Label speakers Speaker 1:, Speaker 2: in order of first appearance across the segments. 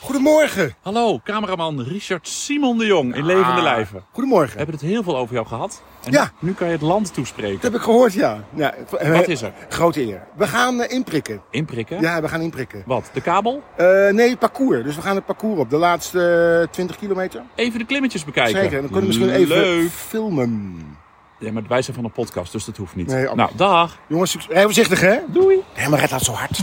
Speaker 1: Goedemorgen.
Speaker 2: Hallo, cameraman Richard Simon de Jong in Levende Lijven. We
Speaker 1: Goedemorgen.
Speaker 2: hebben het heel veel over jou gehad. En
Speaker 1: Ah. Ja.
Speaker 2: nu, nu kan je het land
Speaker 1: Dat
Speaker 2: toespreken.
Speaker 1: heb ik gehoord, ja. ja eh,
Speaker 2: Wat is er?
Speaker 1: Grote eer. We gaan eh, inprikken.
Speaker 2: Inprikken?
Speaker 1: Ja, we gaan inprikken.
Speaker 2: Wat, de kabel?
Speaker 1: Eh, nee, parcours. Dus we gaan het parcours op. De laatste eh, 20 kilometer.
Speaker 2: Even de klimmetjes bekijken.
Speaker 1: Zeker. En dan kunnen we misschien even
Speaker 2: Leuk.
Speaker 1: filmen.
Speaker 2: Ja, maar wij zijn van een podcast, dus dat hoeft niet.
Speaker 1: Nee, oh. absoluut.
Speaker 2: nou, dag.
Speaker 1: Jongens, succes- rij voorzichtig, hè?
Speaker 2: Doei.
Speaker 1: Nee, maar red dat zo hard.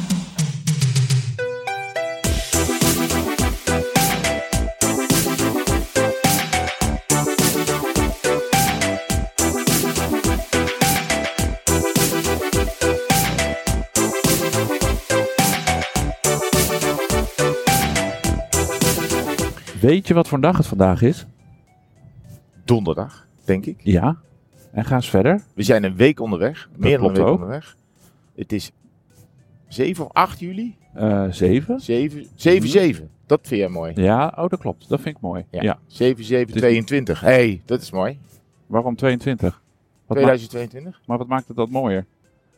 Speaker 3: Weet je wat voor een dag het vandaag is?
Speaker 4: donderdag, denk ik.
Speaker 3: Ja. En ga eens verder.
Speaker 4: We zijn een week onderweg. meer dan een
Speaker 3: klopt
Speaker 4: week
Speaker 3: ook.
Speaker 4: onderweg. Het is 7 of 8 juli.
Speaker 3: Eh zeven.
Speaker 4: 7, 7,
Speaker 3: Mhm.
Speaker 4: 7. Dat vind jij mooi.
Speaker 3: Ja, Dus- oh, dat klopt. Dat vind ik mooi. Ja.
Speaker 4: Ja. 7, 7, 22. Hé, hey, dat is mooi.
Speaker 3: Waarom 22? Wat maakt-
Speaker 4: 2022.
Speaker 3: maar wat maakt het dat mooier?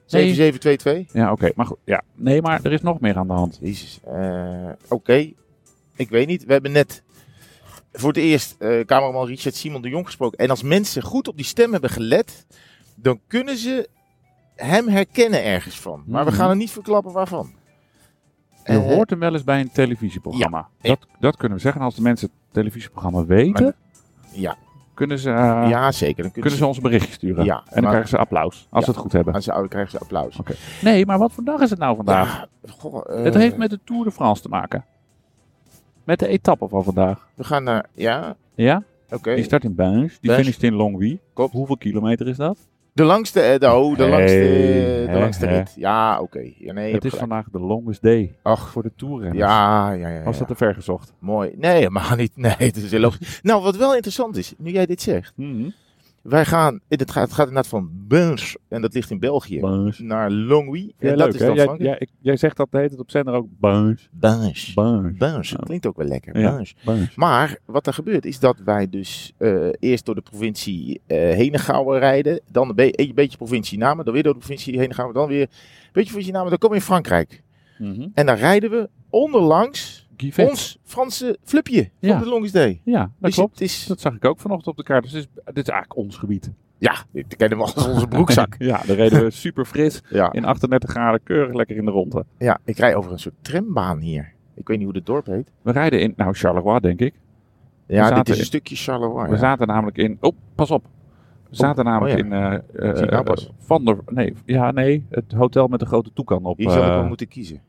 Speaker 4: 7, 7, 2, 2.
Speaker 3: Ja, oké. Maar goed. Ja. Nee, maar er is nog meer aan de hand.
Speaker 4: Jezus. Eh, Oké. Ik weet niet. We hebben net voor het eerst eh cameraman Richard Simon de Jong gesproken. En als mensen goed op die stem hebben gelet, dan kunnen ze hem herkennen ergens van. Maar we
Speaker 3: Mhm.
Speaker 4: gaan er niet verklappen waarvan.
Speaker 3: Je
Speaker 4: Eh,
Speaker 3: hoort hem wel eens bij een televisieprogramma. Dat, dat kunnen we zeggen. Als de mensen het televisieprogramma weten,
Speaker 4: Ja.
Speaker 3: kunnen, ze, eh,
Speaker 4: ja, zeker. Dan
Speaker 3: kunnen ze ons een berichtje sturen.
Speaker 4: Ja,
Speaker 3: en dan
Speaker 4: maar-
Speaker 3: krijgen ze applaus. Als
Speaker 4: Ja.
Speaker 3: ze het goed hebben.
Speaker 4: Aan zijn ouder krijgen ze applaus.
Speaker 3: Nee, maar wat voor dag is het nou vandaag?
Speaker 4: Ja, goh, eh,
Speaker 3: het heeft met de Tour de France te maken. Met de etappe van vandaag.
Speaker 4: We gaan naar... Ja,
Speaker 3: Ja?
Speaker 4: oké.
Speaker 3: Die start in Buins, die
Speaker 4: Buis.
Speaker 3: finisht in Longwy.
Speaker 4: Klopt.
Speaker 3: Hoeveel kilometer is dat?
Speaker 4: De langste... eh, De, oh, de
Speaker 3: Hey,
Speaker 4: langste, de
Speaker 3: hè,
Speaker 4: langste
Speaker 3: hè.
Speaker 4: rit. Ja, oké. Ja, nee, je
Speaker 3: het
Speaker 4: hebt
Speaker 3: is
Speaker 4: gelijk.
Speaker 3: vandaag de longest day
Speaker 4: Ach,
Speaker 3: voor de toerrenners.
Speaker 4: ja, ja, ja.
Speaker 3: Was
Speaker 4: ja.
Speaker 3: dat te ver gezocht?
Speaker 4: Mooi. Nee, helemaal niet. Nee, het is heel logisch. Nou, wat wel interessant is, nu jij dit zegt. Wij gaan... Het gaat, het gaat inderdaad van Buns, en dat ligt in België,
Speaker 3: Buis.
Speaker 4: naar Longwy.
Speaker 3: Ja,
Speaker 4: en dat
Speaker 3: leuk,
Speaker 4: is
Speaker 3: hè?
Speaker 4: dan
Speaker 3: Jij,
Speaker 4: Frankrijk.
Speaker 3: jij- ik- jij zegt dat de hele tijd op zender ook. Buis,
Speaker 4: Buns.
Speaker 3: buis,
Speaker 4: Buns.
Speaker 3: Oh.
Speaker 4: Klinkt ook wel lekker.
Speaker 3: Ja.
Speaker 4: Buns.
Speaker 3: buis.
Speaker 4: Maar wat er gebeurt is dat wij dus eh, eerst door de provincie eh Henegouwen rijden. Dan een, be- een beetje provincie Namen. Dan weer door de provincie Henegouwen. Dan weer een beetje provincie Namen. Dan kom je in Frankrijk. En dan rijden we onderlangs
Speaker 3: Guy Vets.
Speaker 4: ons Franse flupje
Speaker 3: Ja.
Speaker 4: van de Longest Day.
Speaker 3: Ja, dat
Speaker 4: Dus
Speaker 3: klopt.
Speaker 4: het is...
Speaker 3: Dat zag ik ook vanochtend op de kaart. Dus dit is, dit is eigenlijk ons gebied.
Speaker 4: Ja, dit kennen we als onze broekzak.
Speaker 3: ja, daar reden we super fris
Speaker 4: ja.
Speaker 3: in 38 graden, keurig lekker in de ronde.
Speaker 4: ja, ik rij over een soort trambaan hier. Ik weet niet hoe het dorp heet.
Speaker 3: We rijden in, nou Charleroi denk ik.
Speaker 4: Ja, dit
Speaker 3: zaten
Speaker 4: is een
Speaker 3: in-
Speaker 4: stukje Charleroi.
Speaker 3: We
Speaker 4: Oh, ja.
Speaker 3: zaten namelijk in. Oh, pas op. We zaten namelijk
Speaker 4: oh ja.
Speaker 3: in. eh, eh,
Speaker 4: Zie je nou pas?
Speaker 3: eh, Van der. Nee, ja, nee. Het hotel met de grote toekan op.
Speaker 4: Hier zou ik
Speaker 3: eh,
Speaker 4: wel moeten kiezen.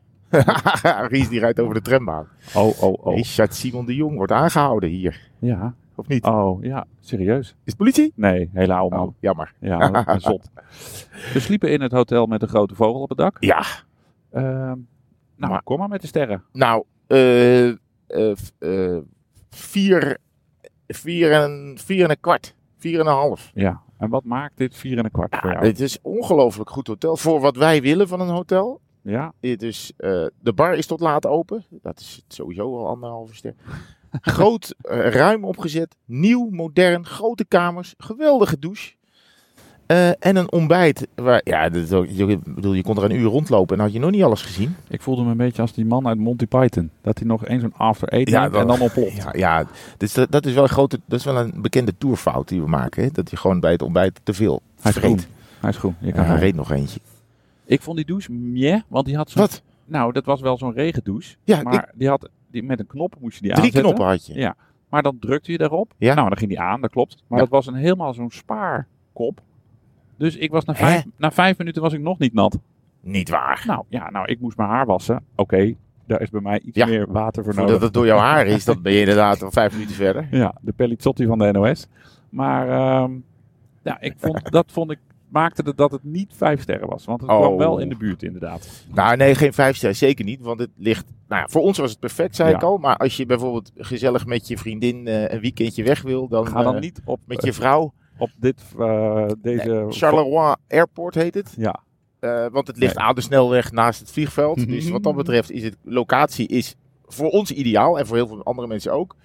Speaker 4: Ries die rijdt over de trambaan.
Speaker 3: oh, oh, oh.
Speaker 4: Richard Simon de Jong wordt aangehouden hier.
Speaker 3: Ja.
Speaker 4: Of niet?
Speaker 3: Oh, ja. Serieus?
Speaker 4: Is het politie?
Speaker 3: Nee, hele oude man.
Speaker 4: Oh, jammer.
Speaker 3: Ja, een zot. We sliepen in het hotel met de grote vogel op het dak.
Speaker 4: Ja.
Speaker 3: Ehm, nou,
Speaker 4: Maar-
Speaker 3: kom maar met de sterren.
Speaker 4: Nou, eh eh, f- eh, vier, vier, en, vier en een kwart. Vier en een half.
Speaker 3: Ja. En wat maakt dit vier en een kwart voor jou?
Speaker 4: Het is ongelooflijk goed hotel. Voor wat wij willen van een hotel.
Speaker 3: Ja.
Speaker 4: Eh, Dus eh, de bar is tot laat open. Dat is sowieso al anderhalve ster. Groot, eh, ruim opgezet. Nieuw, modern. Grote kamers. Geweldige douche. Eh, en een ontbijt. Waar, ja, dat is ook- ik bedoel, je kon er een uur rondlopen en had je nog niet alles gezien.
Speaker 3: Ik voelde me een beetje als die man uit Monty Python. Dat hij nog eens zo'n after eet
Speaker 4: Ja,
Speaker 3: neemt
Speaker 4: dan-
Speaker 3: en dan oploft.
Speaker 4: Ja, ja dus dat, dat is wel een grote, dat is wel een bekende toerfout die we maken. Hè? Dat je gewoon bij het ontbijt te veel
Speaker 3: Hij is groen.
Speaker 4: vreet.
Speaker 3: Hij is groen. Je
Speaker 4: Ja,
Speaker 3: kan
Speaker 4: er
Speaker 3: hem.
Speaker 4: reed nog eentje.
Speaker 3: Ik vond die douche meh, want die had zo'n
Speaker 4: Wat?
Speaker 3: Nou, dat was wel zo'n regendouche.
Speaker 4: Ja,
Speaker 3: maar die had die, met een knop moest je die
Speaker 4: Drie
Speaker 3: aanzetten.
Speaker 4: knoppen had je.
Speaker 3: Ja. Maar dan drukte je daarop.
Speaker 4: Ja.
Speaker 3: Nou, dan ging die aan, dat klopt. Maar
Speaker 4: Ja.
Speaker 3: dat was een, helemaal zo'n spaarkop. Dus ik was na
Speaker 4: Hè?
Speaker 3: vijf, na vijf minuten was ik nog niet nat.
Speaker 4: Niet waar.
Speaker 3: Nou, ja, nou, ik moest mijn haar wassen. Oké, daar is bij mij iets
Speaker 4: Ja.
Speaker 3: meer water voor nodig.
Speaker 4: Voordat het door jouw haar is, dan ben je inderdaad al vijf minuten verder.
Speaker 3: Ja, de Pellizzotti van de NOS. Maar ehm, ja, ik vond, dat vond ik, maakte het dat het niet vijf sterren was. Want het kwam
Speaker 4: Oh.
Speaker 3: wel in de buurt, inderdaad.
Speaker 4: Nou, nee, geen vijf ster, zeker niet. Want het ligt, nou, ja, voor ons was het perfect, zei
Speaker 3: Ja.
Speaker 4: ik al. Maar als je bijvoorbeeld gezellig met je vriendin eh, een weekendje weg wil, dan,
Speaker 3: Ga dan
Speaker 4: eh,
Speaker 3: niet op,
Speaker 4: met je vrouw.
Speaker 3: op dit, eh, deze...
Speaker 4: Charleroi Airport heet het.
Speaker 3: Ja,
Speaker 4: Eh, want het ligt aan de snelweg naast het vliegveld. Dus wat dat betreft is het locatie is voor ons ideaal en voor heel veel andere mensen ook.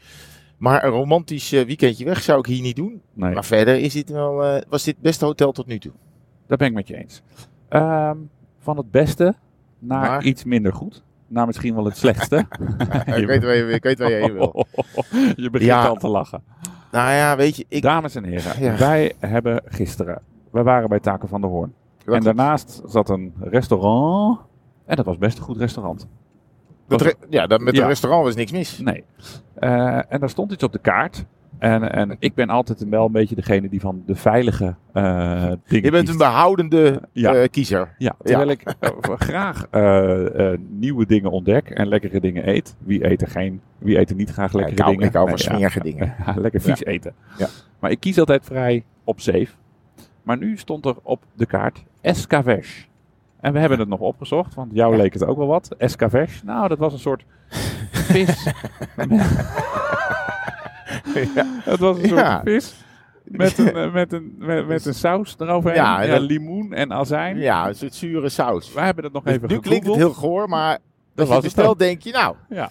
Speaker 4: Maar een romantisch eh, weekendje weg zou ik hier niet doen.
Speaker 3: nee.
Speaker 4: Maar verder is dit wel, eh, was dit het beste hotel tot nu toe.
Speaker 3: Daar ben ik met je eens. Ehm, van het beste naar
Speaker 4: Maar?
Speaker 3: iets minder goed. naar misschien wel het slechtste.
Speaker 4: ik, weet waar je, ik weet waar je heen wil.
Speaker 3: je begint
Speaker 4: Ja.
Speaker 3: al te lachen.
Speaker 4: Nou ja, weet je, ik...
Speaker 3: Dames en heren,
Speaker 4: Ja.
Speaker 3: wij hebben gisteren, we waren bij Taken van der Hoorn.
Speaker 4: dat-
Speaker 3: en daarnaast zat een restaurant. En dat was best een goed restaurant.
Speaker 4: dat re- ja, dat, met
Speaker 3: Ja.
Speaker 4: het restaurant was niks mis.
Speaker 3: Nee. Eh, en daar stond iets op de kaart. En, en ik ben altijd wel een beetje degene die van de veilige eh dingen
Speaker 4: Je bent
Speaker 3: kiest.
Speaker 4: een behoudende
Speaker 3: Ja.
Speaker 4: eh, kiezer.
Speaker 3: Ja, terwijl ik eh, graag eh, eh, nieuwe dingen ontdek en lekkere dingen eet. Wie eet er, geen, wie eet er niet graag lekkere
Speaker 4: ik hou,
Speaker 3: dingen?
Speaker 4: ik hou van
Speaker 3: Nee, ja.
Speaker 4: smerige dingen.
Speaker 3: Ja, lekker vies eten.
Speaker 4: Ja.
Speaker 3: Maar ik kies altijd vrij op safe. Maar nu stond er op de kaart escavesh. En we hebben het nog opgezocht, want jou
Speaker 4: Ja.
Speaker 3: leek het ook wel wat. Escavesh, nou dat was een soort vis. Het was een soort
Speaker 4: Ja. Dus
Speaker 3: vis met een, eh, met, een, met, met een saus eroverheen.
Speaker 4: Ja,
Speaker 3: Ja,
Speaker 4: en dat-
Speaker 3: limoen en azijn.
Speaker 4: Ja, een soort zure saus.
Speaker 3: Wij hebben het nog
Speaker 4: Dus
Speaker 3: even
Speaker 4: nu klinkt het
Speaker 3: gegoogeld.
Speaker 4: heel goor, maar dat
Speaker 3: was
Speaker 4: was
Speaker 3: het
Speaker 4: bestel
Speaker 3: ook.
Speaker 4: denk je nou.
Speaker 3: Ja.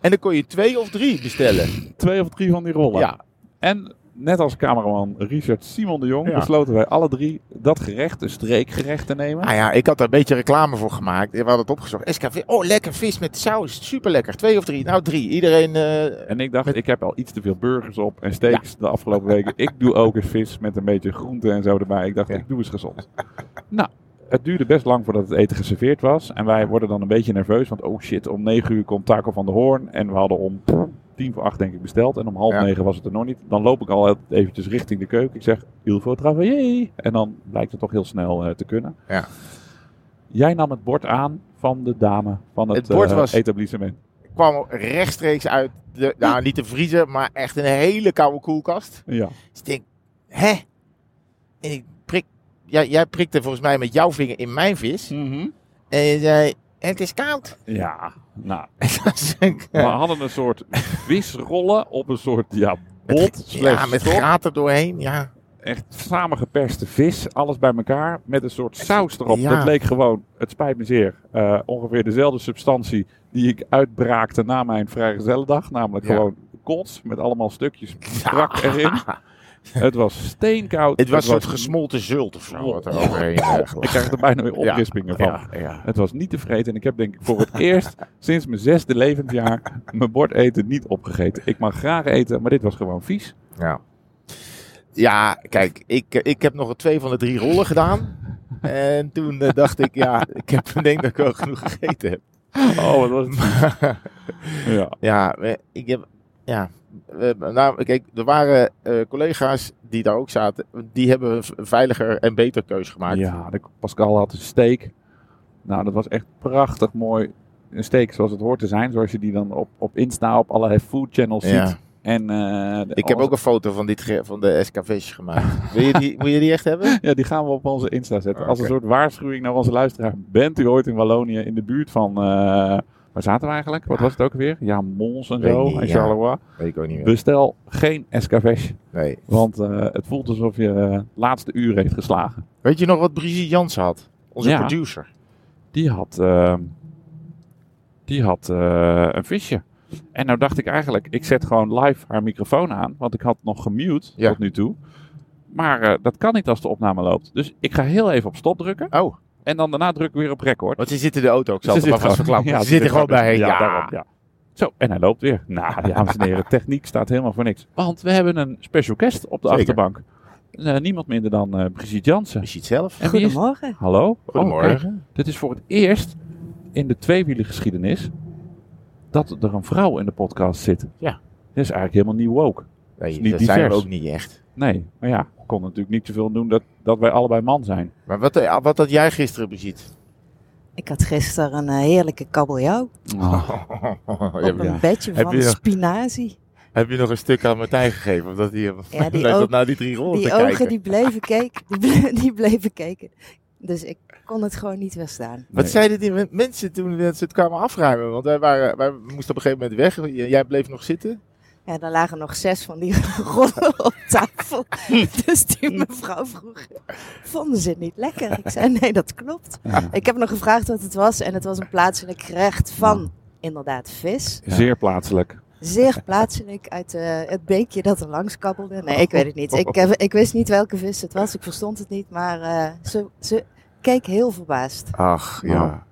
Speaker 4: En dan kon je twee of drie bestellen.
Speaker 3: twee of drie van die rollen.
Speaker 4: Ja.
Speaker 3: En net als cameraman Richard Simon de Jong
Speaker 4: Ja.
Speaker 3: besloten wij alle drie dat gerecht, een streekgerecht te nemen.
Speaker 4: Nou ja, ik had daar een beetje reclame voor gemaakt. We hadden het opgezocht. SKV, oh lekker vis met saus, super lekker. Twee of drie, nou drie. Iedereen, eh,
Speaker 3: En ik dacht, ik heb al iets te veel burgers op en steaks de afgelopen weken. Ik doe ook eens vis met een beetje groente en zo erbij. Ik dacht,
Speaker 4: Ja.
Speaker 3: ik doe eens gezond. nou, het duurde best lang voordat het eten geserveerd was. En wij worden dan een beetje nerveus, want oh shit, om negen uur komt Taco van de Hoorn. En we hadden om tien voor acht denk ik besteld. En om half
Speaker 4: Ja.
Speaker 3: negen was het er nog niet. Dan loop ik al eventjes richting de keuken. Ik zeg, il faut travailler. En dan blijkt het toch heel snel eh, te kunnen.
Speaker 4: Ja.
Speaker 3: Jij nam het bord aan van de dame van het,
Speaker 4: Het bord
Speaker 3: eh,
Speaker 4: was-
Speaker 3: etablissement.
Speaker 4: kwam rechtstreeks uit, de, nou niet de vriezer, maar echt een hele koude koelkast.
Speaker 3: Ja.
Speaker 4: Dus ik denk, hè? En ik prik, jij, jij prikte volgens mij met jouw vinger in mijn vis. En je zei, het is koud.
Speaker 3: Ja, nou,
Speaker 4: Dat is een-
Speaker 3: We hadden een soort visrollen op een soort ja, bot.
Speaker 4: ja,
Speaker 3: slash
Speaker 4: met
Speaker 3: stok.
Speaker 4: graat er doorheen, ja.
Speaker 3: Echt samengeperste vis, alles bij elkaar. Met een soort saus erop.
Speaker 4: Ja.
Speaker 3: Dat leek gewoon, het spijt me zeer, eh, ongeveer dezelfde substantie die ik uitbraakte na mijn vrijgezellendag. Namelijk
Speaker 4: Ja.
Speaker 3: gewoon kots met allemaal stukjes strak erin. Het was steenkoud.
Speaker 4: Het was een soort gesmolten zult of zo. Wat er overheen eh,
Speaker 3: Ik
Speaker 4: gelapt.
Speaker 3: krijg er bijna weer
Speaker 4: Ja,
Speaker 3: oprispingen van.
Speaker 4: ja, ja.
Speaker 3: Het was niet tevreden en ik heb denk ik voor het eerst sinds mijn zesde levensjaar mijn bord eten niet opgegeten. Ik mag graag eten, maar dit was gewoon vies.
Speaker 4: Ja. Ja, kijk, ik, eh, ik heb nog een twee van de drie rollen gedaan. En toen eh, dacht ik, ja, ik heb, ik denk dat ik wel genoeg gegeten heb.
Speaker 3: Oh, wat was het? Ja.
Speaker 4: Ja, eh, ik heb, ja. eh, Nou, kijk, er waren eh, collega's die daar ook zaten. Die hebben een v- veiliger en beter keus gemaakt.
Speaker 3: ja, de Pascal had een steak. Nou, dat was echt prachtig mooi. Een steak zoals het hoort te zijn, zoals je die dan op, op Insta, op allerlei food channels
Speaker 4: Ja.
Speaker 3: ziet. En, eh, de-
Speaker 4: Ik heb
Speaker 3: alles-
Speaker 4: ook een foto van, dit ge- van de SKV's gemaakt. Wil je die, wil je die echt hebben?
Speaker 3: Ja, die gaan we op onze Insta zetten. Als een
Speaker 4: Oké.
Speaker 3: soort waarschuwing naar onze luisteraar. Bent u ooit in Wallonië in de buurt van... eh, waar zaten we eigenlijk? Wat was het ook weer? Ja, Mons en
Speaker 4: Ah. Weet
Speaker 3: zo.
Speaker 4: niet,
Speaker 3: en
Speaker 4: ja.
Speaker 3: Charleroi.
Speaker 4: Weet ik ook niet meer.
Speaker 3: Bestel Dus geen escabeche.
Speaker 4: Nee.
Speaker 3: Want eh, het voelt alsof je eh, laatste uur heeft geslagen.
Speaker 4: Weet je nog wat Brigitte Jansen had? Onze
Speaker 3: Ja.
Speaker 4: producer.
Speaker 3: Die had, eh, die had eh, een visje. En nou dacht ik eigenlijk, ik zet gewoon live haar microfoon aan. Want ik had nog gemute
Speaker 4: Ja.
Speaker 3: tot nu toe. Maar eh, dat kan niet als de opname loopt. Dus ik ga heel even op stop drukken.
Speaker 4: Oh,
Speaker 3: En dan daarna druk ik weer op record.
Speaker 4: want ze zitten in de auto. Ik zal
Speaker 3: Ze
Speaker 4: het maar
Speaker 3: zit
Speaker 4: vast
Speaker 3: gewoon-
Speaker 4: verklappen.
Speaker 3: ja,
Speaker 4: ze zitten gewoon bij.
Speaker 3: Ja,
Speaker 4: Ja,
Speaker 3: daarom, ja. Zo, en hij loopt weer. Nou, dames en heren, techniek staat helemaal voor niks. Want we hebben een special guest op de
Speaker 4: Zeker.
Speaker 3: achterbank. Eh, niemand minder dan eh, Brigitte Jansen.
Speaker 4: Brigitte zelf.
Speaker 3: En wie is-
Speaker 5: Goedemorgen.
Speaker 3: Hallo.
Speaker 4: Goedemorgen.
Speaker 3: Oh, kijk, dit is voor het eerst in de tweewielengeschiedenis dat er een vrouw in de podcast zit.
Speaker 4: Ja.
Speaker 3: Dat is eigenlijk helemaal nieuw woke.
Speaker 4: Nee,
Speaker 3: Is niet
Speaker 4: dat zijn we
Speaker 3: divers.
Speaker 4: ook niet echt.
Speaker 3: Nee, maar ja, kon natuurlijk niet zoveel doen dat, dat wij allebei man zijn.
Speaker 4: Maar wat, eh, wat had jij gisteren, Brigitte?
Speaker 5: Ik had gisteren een eh, heerlijke
Speaker 4: Oh,
Speaker 5: kabeljauw op
Speaker 4: heb,
Speaker 5: een bedje
Speaker 4: Heb
Speaker 5: van
Speaker 4: je-
Speaker 5: spinazie.
Speaker 4: je nog een stuk aan Martijn gegeven? Omdat hij hem
Speaker 5: Ja, die
Speaker 4: hij zat
Speaker 5: oog-
Speaker 4: naar die drie rollen
Speaker 5: Die
Speaker 4: Oh, te
Speaker 5: ogen
Speaker 4: kijken.
Speaker 5: die bleven, keken, die, ble- die bleven keken. Dus ik kon het gewoon niet weerstaan.
Speaker 4: Wat
Speaker 3: Nee.
Speaker 4: zeiden die men- mensen toen ze het kwamen afruimen? Want wij, waren, wij moesten op een gegeven moment weg. J- Jij bleef nog zitten.
Speaker 5: Ja, daar lagen nog zes van die rollen op tafel. Dus die mevrouw vroeg, vonden ze het niet lekker? Ik zei, nee, dat klopt.
Speaker 3: Ja.
Speaker 5: Ik heb nog gevraagd wat het was en het was een plaatselijk gerecht van... Inderdaad, vis.
Speaker 3: Zeer plaatselijk.
Speaker 5: Zeer plaatselijk uit eh, het beekje dat er langs kabbelde. Nee, ik weet het niet. Ik, eh, ik wist niet welke vis het was. Ik verstond het niet. Maar eh, ze, ze keek heel verbaasd.
Speaker 4: Ach,
Speaker 3: ja.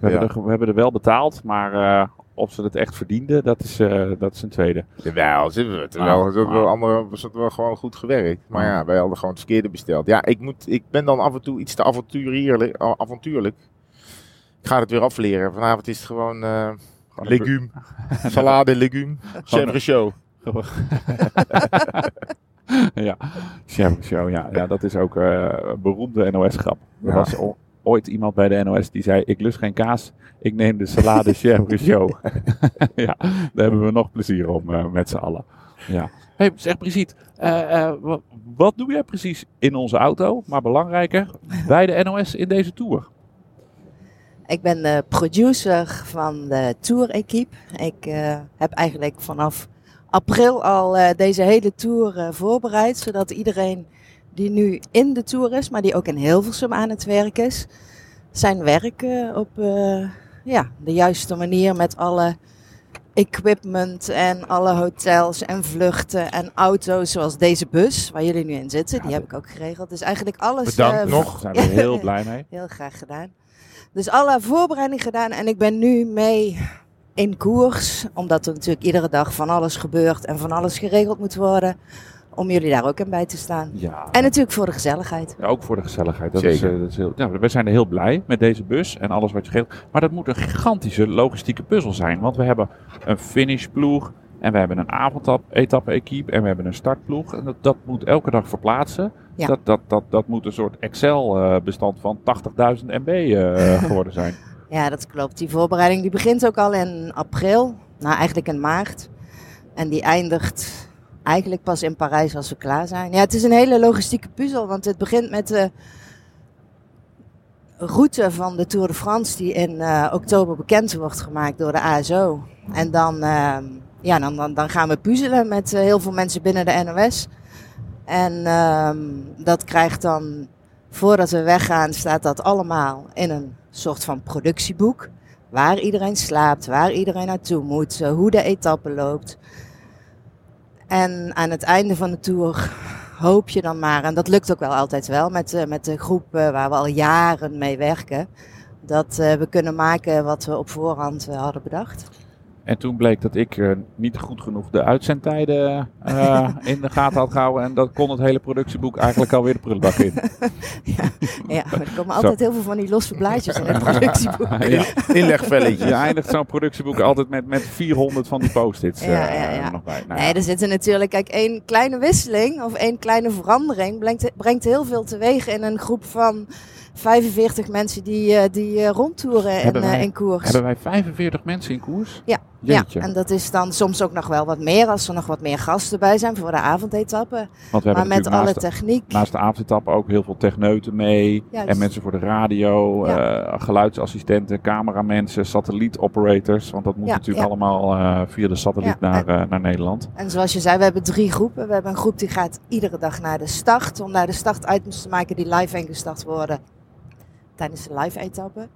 Speaker 3: We,
Speaker 4: Ja.
Speaker 3: hebben, er, we hebben er wel betaald, maar eh, of ze het echt verdienden, dat is, eh, dat is een tweede.
Speaker 4: Jawel, ze hebben het wel, ze hebben wel, andere, ze hebben wel gewoon goed gewerkt. Maar ja, wij hadden gewoon het verkeerde besteld. Ja, ik, moet, ik ben dan af en toe iets te avonturierlijk. a- avontuurlijk. Ik ga het weer afleren. Vanavond is het gewoon eh legume. Salade, legume. Chef de show.
Speaker 3: ja, Sharon Show, ja. ja, dat is ook eh, een beroemde NOS-grap. Er
Speaker 4: Ja.
Speaker 3: was o- ooit iemand bij de NOS die zei, ik lust geen kaas, ik neem de salade Sharon Show. ja, daar hebben we nog plezier om eh, met z'n allen. Ja. Hey, zeg Brigitte, eh, eh, wa- wat doe jij precies in onze auto, maar belangrijker, bij de NOS in deze tour?
Speaker 5: Ik ben de producer van de tour-equipe. Ik eh, heb eigenlijk vanaf april al eh, deze hele tour eh, voorbereid, zodat iedereen die nu in de tour is, maar die ook in Hilversum aan het werk is, zijn werk eh, op eh, ja, de juiste manier met alle equipment en alle hotels en vluchten en auto's, zoals deze bus waar jullie nu in zitten, die heb ik ook geregeld. Dus eigenlijk alles
Speaker 4: Bedankt
Speaker 5: eh,
Speaker 4: Nog?
Speaker 3: Daar zijn we heel blij mee.
Speaker 5: Heel graag gedaan. Dus alle voorbereiding gedaan en ik ben nu mee in koers. Omdat er natuurlijk iedere dag van alles gebeurt en van alles geregeld moet worden. Om jullie daar ook in bij te staan.
Speaker 3: Ja,
Speaker 5: En natuurlijk voor de gezelligheid.
Speaker 3: Ja, ook voor de gezelligheid. Dat
Speaker 4: Zeker.
Speaker 3: Is, eh, dat is heel, ja, we zijn er heel blij met deze bus en alles wat je geeft. Maar dat moet een gigantische logistieke puzzel zijn. Want we hebben een finishploeg en we hebben een avondetappe-equipe en we hebben een startploeg. En dat, dat moet elke dag verplaatsen.
Speaker 5: Ja.
Speaker 3: Dat, dat, dat, dat moet een soort Excel-bestand van 80.000 MB eh, geworden zijn.
Speaker 5: Ja, dat klopt. Die voorbereiding die begint ook al in april. Nou, eigenlijk in maart. En die eindigt eigenlijk pas in Parijs als we klaar zijn. Ja, het is een hele logistieke puzzel. Want het begint met de route van de Tour de France... die in eh, oktober bekend wordt gemaakt door de ASO. En dan, ehm, ja, dan, dan, dan gaan we puzzelen met eh, heel veel mensen binnen de NOS. En ehm, dat krijgt dan, voordat we weggaan, staat dat allemaal in een soort van productieboek. Waar iedereen slaapt, waar iedereen naartoe moet, eh, hoe de etappe loopt. En aan het einde van de tour hoop je dan maar, en dat lukt ook wel altijd wel met, eh, met de groep eh, waar we al jaren mee werken, dat eh, we kunnen maken wat we op voorhand eh, hadden bedacht.
Speaker 3: En toen bleek dat ik eh, niet goed genoeg de uitzendtijden eh, in de gaten had gehouden. En dat kon het hele productieboek eigenlijk alweer de prullenbak in.
Speaker 5: Ja, maar er komen
Speaker 3: Zo.
Speaker 5: altijd heel veel van die losse blaadjes in het productieboek.
Speaker 3: Ja.
Speaker 4: Inlegvelletjes.
Speaker 3: Je eindigt zo'n productieboek altijd met, met 400 van die post-its eh,
Speaker 5: Ja, ja, ja.
Speaker 3: nog bij. Nou,
Speaker 5: Nee, er zitten natuurlijk, kijk, één kleine wisseling of één kleine verandering brengt, brengt heel veel teweeg in een groep van 45 mensen die, eh, die eh, rondtoeren in,
Speaker 3: Hebben wij-
Speaker 5: eh, in koers.
Speaker 3: Hebben wij 45 mensen in koers?
Speaker 5: Ja, Ja,
Speaker 3: Jeetje.
Speaker 5: en dat is dan soms ook nog wel wat meer als er nog wat meer gasten bij zijn voor de avondetappen.
Speaker 3: Want we
Speaker 5: Maar
Speaker 3: hebben
Speaker 5: met
Speaker 3: natuurlijk
Speaker 5: alle
Speaker 3: naast, de-
Speaker 5: techniek.
Speaker 3: naast de avondetap ook heel veel techneuten mee.
Speaker 5: Juist.
Speaker 3: En mensen voor de radio, eh, geluidsassistenten, cameramensen, satellietoperators. Want dat moet
Speaker 5: Ja,
Speaker 3: natuurlijk
Speaker 5: ja.
Speaker 3: allemaal eh, via de satelliet
Speaker 5: Ja,
Speaker 3: naar, eh, naar Nederland.
Speaker 5: En zoals je zei, we hebben drie groepen. We hebben een groep die gaat iedere dag naar de start. Om daar de startitems te maken die live ingestart worden tijdens de live-etappe.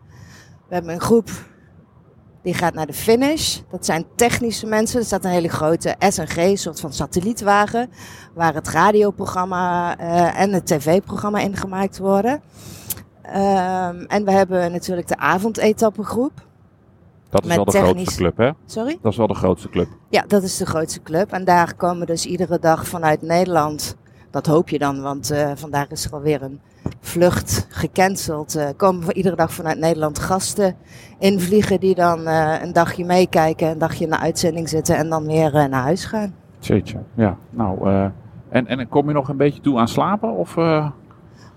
Speaker 5: We hebben een groep die gaat naar de finish. Dat zijn technische mensen. Er staat een hele grote SNG, een soort van satellietwagen. Waar het radioprogramma eh, en het tv-programma in gemaakt worden. Ehm, en we hebben natuurlijk de avondetappengroep.
Speaker 3: Dat is
Speaker 5: Met
Speaker 3: wel de
Speaker 5: technisch-
Speaker 3: grootste club, hè?
Speaker 5: Sorry?
Speaker 3: Dat is wel de grootste club.
Speaker 5: Ja, dat is de grootste club. En daar komen dus iedere dag vanuit Nederland. Dat hoop je dan, want eh, vandaag is er alweer een vlucht gecanceld. Eh, komen voor iedere dag vanuit Nederland gasten invliegen die dan eh, een dagje meekijken, een dagje in de uitzending zitten en dan weer eh, naar huis gaan.
Speaker 3: Jeetje. Ja, nou... eh, en, en kom je nog een beetje toe aan slapen? Of... eh,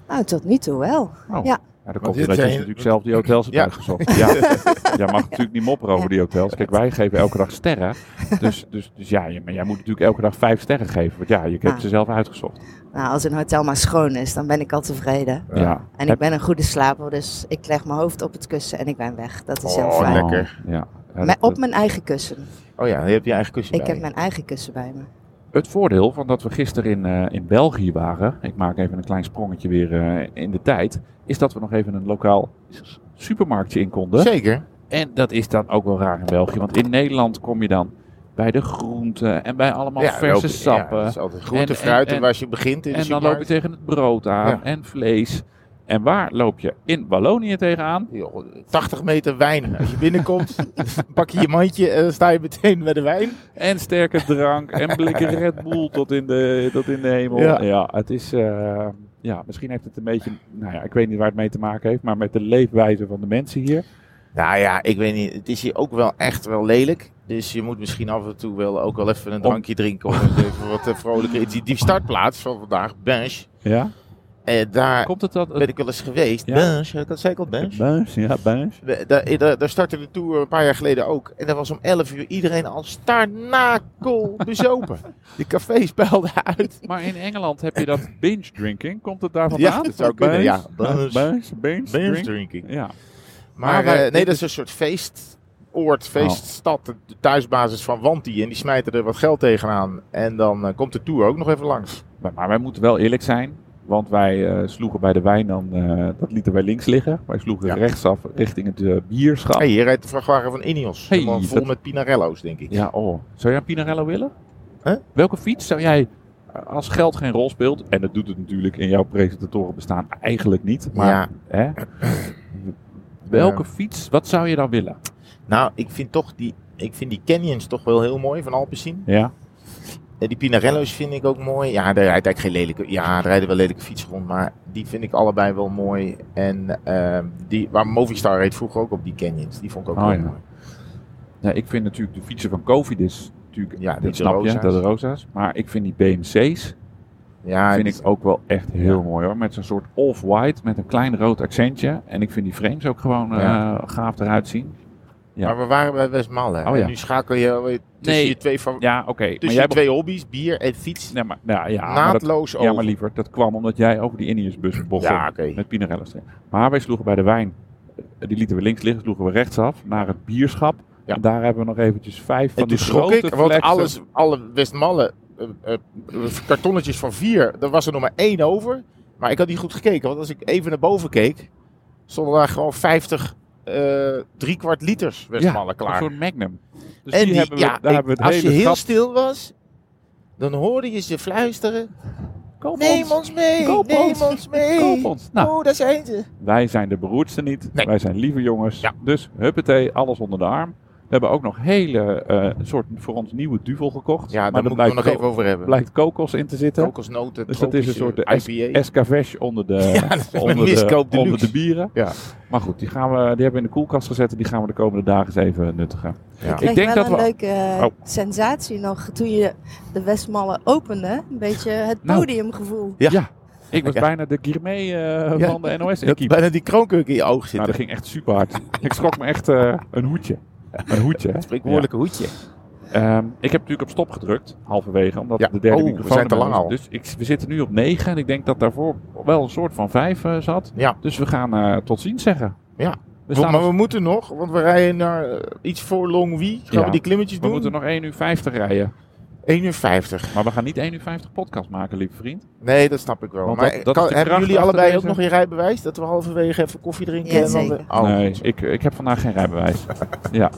Speaker 5: Nou, tot nu toe wel.
Speaker 3: Oh.
Speaker 5: Ja.
Speaker 3: Ja, dan komt
Speaker 4: dit
Speaker 3: er dat je
Speaker 4: zijn-
Speaker 3: dus natuurlijk zelf die hotels hebt
Speaker 4: Ja.
Speaker 3: uitgezocht. Ja. Jij mag natuurlijk niet mopperen over die hotels. Kijk, wij geven elke dag sterren. Dus, dus, dus ja, je- maar jij moet natuurlijk elke dag vijf sterren geven. Want ja, je hebt
Speaker 5: Ah.
Speaker 3: ze zelf uitgezocht.
Speaker 5: Nou, als een hotel maar schoon is, dan ben ik al tevreden.
Speaker 3: Ja.
Speaker 5: En ik
Speaker 3: Heb-
Speaker 5: ben een goede slaper, dus ik leg mijn hoofd op het kussen en ik ben weg. Dat is heel
Speaker 4: Oh,
Speaker 5: fijn.
Speaker 4: lekker.
Speaker 3: Ja. Ja,
Speaker 5: Me-
Speaker 3: dat-
Speaker 5: Op mijn eigen kussen.
Speaker 4: Oh ja, je hebt je eigen kussen
Speaker 5: Ik
Speaker 4: bij
Speaker 5: heb
Speaker 4: je.
Speaker 5: mijn eigen kussen bij me.
Speaker 3: Het voordeel van dat we gisteren in, eh, in België waren, ik maak even een klein sprongetje weer eh, in de tijd, is dat we nog even een lokaal s- supermarktje in konden.
Speaker 4: Zeker.
Speaker 3: En dat is dan ook wel raar in België, want in Nederland kom je dan bij de groenten en bij allemaal verse
Speaker 4: lopen-
Speaker 3: sappen.
Speaker 4: Ja, dat is altijd groente,
Speaker 3: En-
Speaker 4: fruit en,
Speaker 3: en-
Speaker 4: waar je begint in de
Speaker 3: En dan loop je
Speaker 4: supermarkt.
Speaker 3: tegen het brood aan
Speaker 4: Ja.
Speaker 3: en vlees. En waar loop je in Wallonië tegenaan?
Speaker 4: Joh, 80 meter wijn. Als je binnenkomt, pak je je mandje en dan sta je meteen bij de wijn.
Speaker 3: En sterke drank en blikken Red Bull tot in de, tot in de hemel.
Speaker 4: Ja.
Speaker 3: Ja, het is... eh, ja, misschien heeft het een beetje... Nou ja, ik weet niet waar het mee te maken heeft, maar met de leefwijze van de mensen hier.
Speaker 4: Nou ja, ik weet niet. Het is hier ook wel echt wel lelijk. Dus je moet misschien af en toe wel ook wel even een drankje drinken. Om het even wat eh, vrolijker. Die- Die startplaats van vandaag, Bench.
Speaker 3: Ja?
Speaker 4: Eh, daar
Speaker 3: Komt het dat...
Speaker 4: ben ik wel eens geweest.
Speaker 3: Ja.
Speaker 4: Bench, heb ik dat zei ik al, Bench?
Speaker 3: Buis, ja, buis.
Speaker 4: We- Daar, eh, daar, daar startte de tour een paar jaar geleden ook. En daar was om 11 uur iedereen al starnakel bezopen. De cafés peilden uit.
Speaker 3: Maar in Engeland heb je dat binge drinking. Komt het daar vandaan?
Speaker 4: Ja, dat zou kunnen,
Speaker 3: Buis,
Speaker 4: ja.
Speaker 3: buis, buis, binge, drink.
Speaker 4: drinking.
Speaker 3: Ja.
Speaker 4: Maar,
Speaker 3: Maar,
Speaker 4: eh,
Speaker 3: eh,
Speaker 4: nee, dat is een soort feestoord, feeststad.
Speaker 3: Oh.
Speaker 4: De thuisbasis van Wanti. En die smijten er wat geld tegenaan. En dan eh, komt de tour ook nog even langs.
Speaker 3: Maar, maar wij moeten wel eerlijk zijn. Want wij eh, sloegen bij de wijn dan, eh, dat lieten wij links liggen. Wij sloegen
Speaker 4: Ja.
Speaker 3: rechtsaf richting het eh, bierschap.
Speaker 4: Hey, hier rijdt de vrachtwagen van Ineos.
Speaker 3: Hey,
Speaker 4: Helemaal vol
Speaker 3: dat-
Speaker 4: met Pinarello's, denk ik.
Speaker 3: Ja, oh. Zou jij een Pinarello willen?
Speaker 4: Hè?
Speaker 3: Welke fiets zou jij, eh, als geld geen rol speelt, en dat doet het natuurlijk in jouw presentatorenbestaan eigenlijk niet, maar
Speaker 4: Ja.
Speaker 3: hè? welke fiets, wat zou je dan willen?
Speaker 4: Nou, ik vind toch die, ik vind die canyons toch wel heel mooi van Alpecin.
Speaker 3: Ja,
Speaker 4: Eh, Die Pinarello's vind ik ook mooi. Ja, daar rijdt eigenlijk geen lelijke. Ja, er rijden wel lelijke fietsen rond. Maar die vind ik allebei wel mooi. En ehm, die, waar Movistar reed vroeger ook op die canyons. Die vond ik ook
Speaker 3: Oh,
Speaker 4: wel
Speaker 3: ja.
Speaker 4: mooi.
Speaker 3: ja ik vind natuurlijk de fietsen van Covidis, natuurlijk,
Speaker 4: Ja,
Speaker 3: ja,
Speaker 4: die
Speaker 3: dat snap je,
Speaker 4: Rosa's.
Speaker 3: dat de Rosa's, maar ik vind die BMC's,
Speaker 4: Ja,
Speaker 3: vind
Speaker 4: die-
Speaker 3: ik ook wel echt heel mooi hoor, met zo'n soort off-white, met een klein rood accentje, en ik vind die frames ook gewoon eh,
Speaker 4: Ja.
Speaker 3: gaaf eruit zien. ja.
Speaker 4: Maar we waren bij Westmalle.
Speaker 3: Oh, ja.
Speaker 4: En nu schakel je alweer tussen
Speaker 3: Nee.
Speaker 4: je twee, fa-
Speaker 3: Ja, oké, maar
Speaker 4: tussen
Speaker 3: jij
Speaker 4: Dus je twee hobby's, bier en fiets.
Speaker 3: Nee, maar, nou, ja, maar dat-
Speaker 4: naadloos over.
Speaker 3: Ja, maar liever, dat kwam omdat jij over die Indiërsbus bocht
Speaker 4: Ja, oké.
Speaker 3: met Pinarello's. erin. Maar wij sloegen bij de wijn, eh, die lieten we links liggen, sloegen we rechtsaf naar het bierschap.
Speaker 4: Ja.
Speaker 3: En daar hebben we nog eventjes vijf van
Speaker 4: En
Speaker 3: die
Speaker 4: toen schrok
Speaker 3: grote
Speaker 4: ik, want
Speaker 3: flexen.
Speaker 4: alles, alle Westmalle eh, eh, kartonnetjes van vier, er was er nog maar één over. Maar ik had niet goed gekeken, want als ik even naar boven keek, stonden daar gewoon 50 eh driekwart liters Westmalle klaar.
Speaker 3: Een soort magnum. Dus
Speaker 4: en
Speaker 3: die, hebben we,
Speaker 4: ja,
Speaker 3: daar
Speaker 4: ik-
Speaker 3: hebben we het
Speaker 4: als
Speaker 3: hele
Speaker 4: je heel
Speaker 3: gat-
Speaker 4: stil was, dan hoorde je ze fluisteren.
Speaker 3: Koop
Speaker 4: Neem
Speaker 3: ons,
Speaker 4: ons mee,
Speaker 3: Koop
Speaker 4: neem
Speaker 3: ons.
Speaker 4: ons, mee.
Speaker 3: koop ons. Nou,
Speaker 4: Oh, daar zijn ze.
Speaker 3: wij zijn de beroerdste niet.
Speaker 4: Nee.
Speaker 3: Wij zijn lieve jongens.
Speaker 4: Ja.
Speaker 3: Dus huppatee, alles onder de arm. We hebben ook nog hele eh, soort voor ons nieuwe duvel gekocht.
Speaker 4: Ja, daar
Speaker 3: maar
Speaker 4: moet
Speaker 3: daar
Speaker 4: ik het nog
Speaker 3: blijkt,
Speaker 4: even over hebben.
Speaker 3: ko- blijkt kokos in te zitten.
Speaker 4: Kokosnoten,
Speaker 3: Dus dat is een soort eh,
Speaker 4: tropische IPA.
Speaker 3: Escavage onder de,
Speaker 4: Ja, dat is een
Speaker 3: onder, de,
Speaker 4: miskoop deluxe.
Speaker 3: onder de bieren.
Speaker 4: Ja.
Speaker 3: Maar goed, die, gaan we, die hebben we in de koelkast gezet en die gaan we de komende dagen eens even nuttigen.
Speaker 4: Ja.
Speaker 3: Ik
Speaker 5: kreeg
Speaker 3: denk
Speaker 5: wel
Speaker 3: dat
Speaker 5: een
Speaker 3: we...
Speaker 5: leuke eh,
Speaker 3: Oh.
Speaker 5: sensatie nog toen je de Westmallen opende. Een beetje het
Speaker 3: Nou.
Speaker 5: podiumgevoel.
Speaker 4: Ja.
Speaker 3: Ik was
Speaker 4: Ja.
Speaker 3: bijna de gourmet eh,
Speaker 4: Ja.
Speaker 3: van de NOS.
Speaker 4: Dat
Speaker 3: Ik
Speaker 4: bijna die kroonkurk in je oog zit.
Speaker 3: Nou, dat ging echt super hard. ik schrok me echt eh, een hoedje. Een hoedje. hè?
Speaker 4: Spreekwoordelijke hoedje.
Speaker 3: Ja. Ehm, ik heb natuurlijk op stop gedrukt, halverwege, omdat
Speaker 4: Ja.
Speaker 3: de derde
Speaker 4: Oh, we
Speaker 3: microfoon
Speaker 4: zijn te
Speaker 3: erbij
Speaker 4: lang
Speaker 3: was. Dus ik, we zitten nu op 9 en ik denk dat daarvoor wel een soort van 5 zat.
Speaker 4: Ja.
Speaker 3: Dus we gaan eh, tot ziens zeggen.
Speaker 4: Ja.
Speaker 3: We, staan
Speaker 4: maar
Speaker 3: op-
Speaker 4: we moeten nog, want we rijden naar eh, iets voor Longwy. Gaan
Speaker 3: Ja.
Speaker 4: we die klimmetjes
Speaker 3: we
Speaker 4: doen?
Speaker 3: moeten nog 1 uur 50 rijden.
Speaker 4: 1 uur 50.
Speaker 3: Maar we gaan niet 1 uur 50 podcast maken, lieve vriend.
Speaker 4: Nee, dat snap ik wel.
Speaker 3: Want
Speaker 4: maar
Speaker 3: dat- dat
Speaker 4: kan-
Speaker 3: is de
Speaker 4: hebben
Speaker 3: kracht
Speaker 4: jullie allebei
Speaker 3: achter
Speaker 4: ook nog je rijbewijs? Dat we halverwege even koffie drinken?
Speaker 5: Ja,
Speaker 4: en dan
Speaker 5: zeker.
Speaker 4: de- Oh,
Speaker 3: nee, ik, ik heb vandaag geen rijbewijs. ja.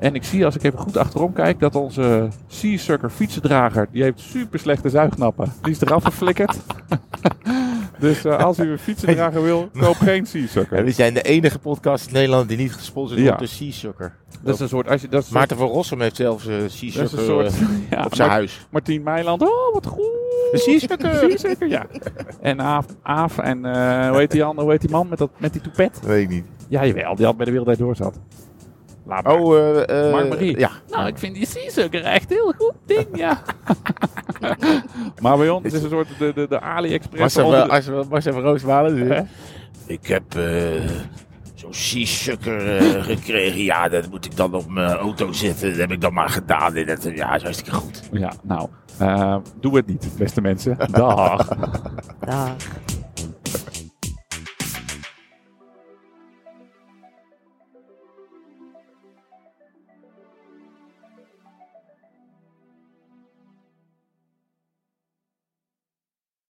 Speaker 3: En ik zie, als ik even goed achterom kijk, dat onze Sea Sucker fietsendrager, die heeft super slechte zuignappen. Die is eraf geflikkerd. dus eh, als u een fietsendrager wil, koop geen Sea Sucker.
Speaker 4: We zijn de enige podcast in Nederland die niet gesponsord
Speaker 3: Ja.
Speaker 4: wordt door Seasucker.
Speaker 3: Dat is een soort, als je, dat is een
Speaker 4: Maarten van Rossum heeft zelfs uh,
Speaker 3: dat is een
Speaker 4: Seasucker
Speaker 3: soort, ja,
Speaker 4: op zijn
Speaker 3: Mar-
Speaker 4: huis.
Speaker 3: Martien Meiland, oh wat goed.
Speaker 4: Een Seasucker!
Speaker 3: Sea Sucker, ja. En Aaf, Aaf en eh, hoe heet die ander, hoe heet die man met, dat, met die toepet?
Speaker 4: Weet ik niet.
Speaker 3: Ja, jawel, die had bij de Wereldwijd door zat. Laat maar.
Speaker 4: Oh, eh, eh,
Speaker 3: Mark Marie.
Speaker 4: Ja.
Speaker 3: Nou, ik vind die seasucker echt heel goed ding, ja. maar bij ons is een soort de, de, de AliExpress.
Speaker 4: Marcel,
Speaker 3: onder de-
Speaker 4: als we Marcel van Roosmalen.
Speaker 3: Hè?
Speaker 6: Ik heb eh, zo'n seasucker eh, gekregen. Ja, dat moet ik dan op mijn auto zetten. Dat heb ik dan maar gedaan. En dat, ja, is hartstikke goed.
Speaker 3: Ja, nou, eh, doe het niet, beste mensen. Dag.
Speaker 5: Dag.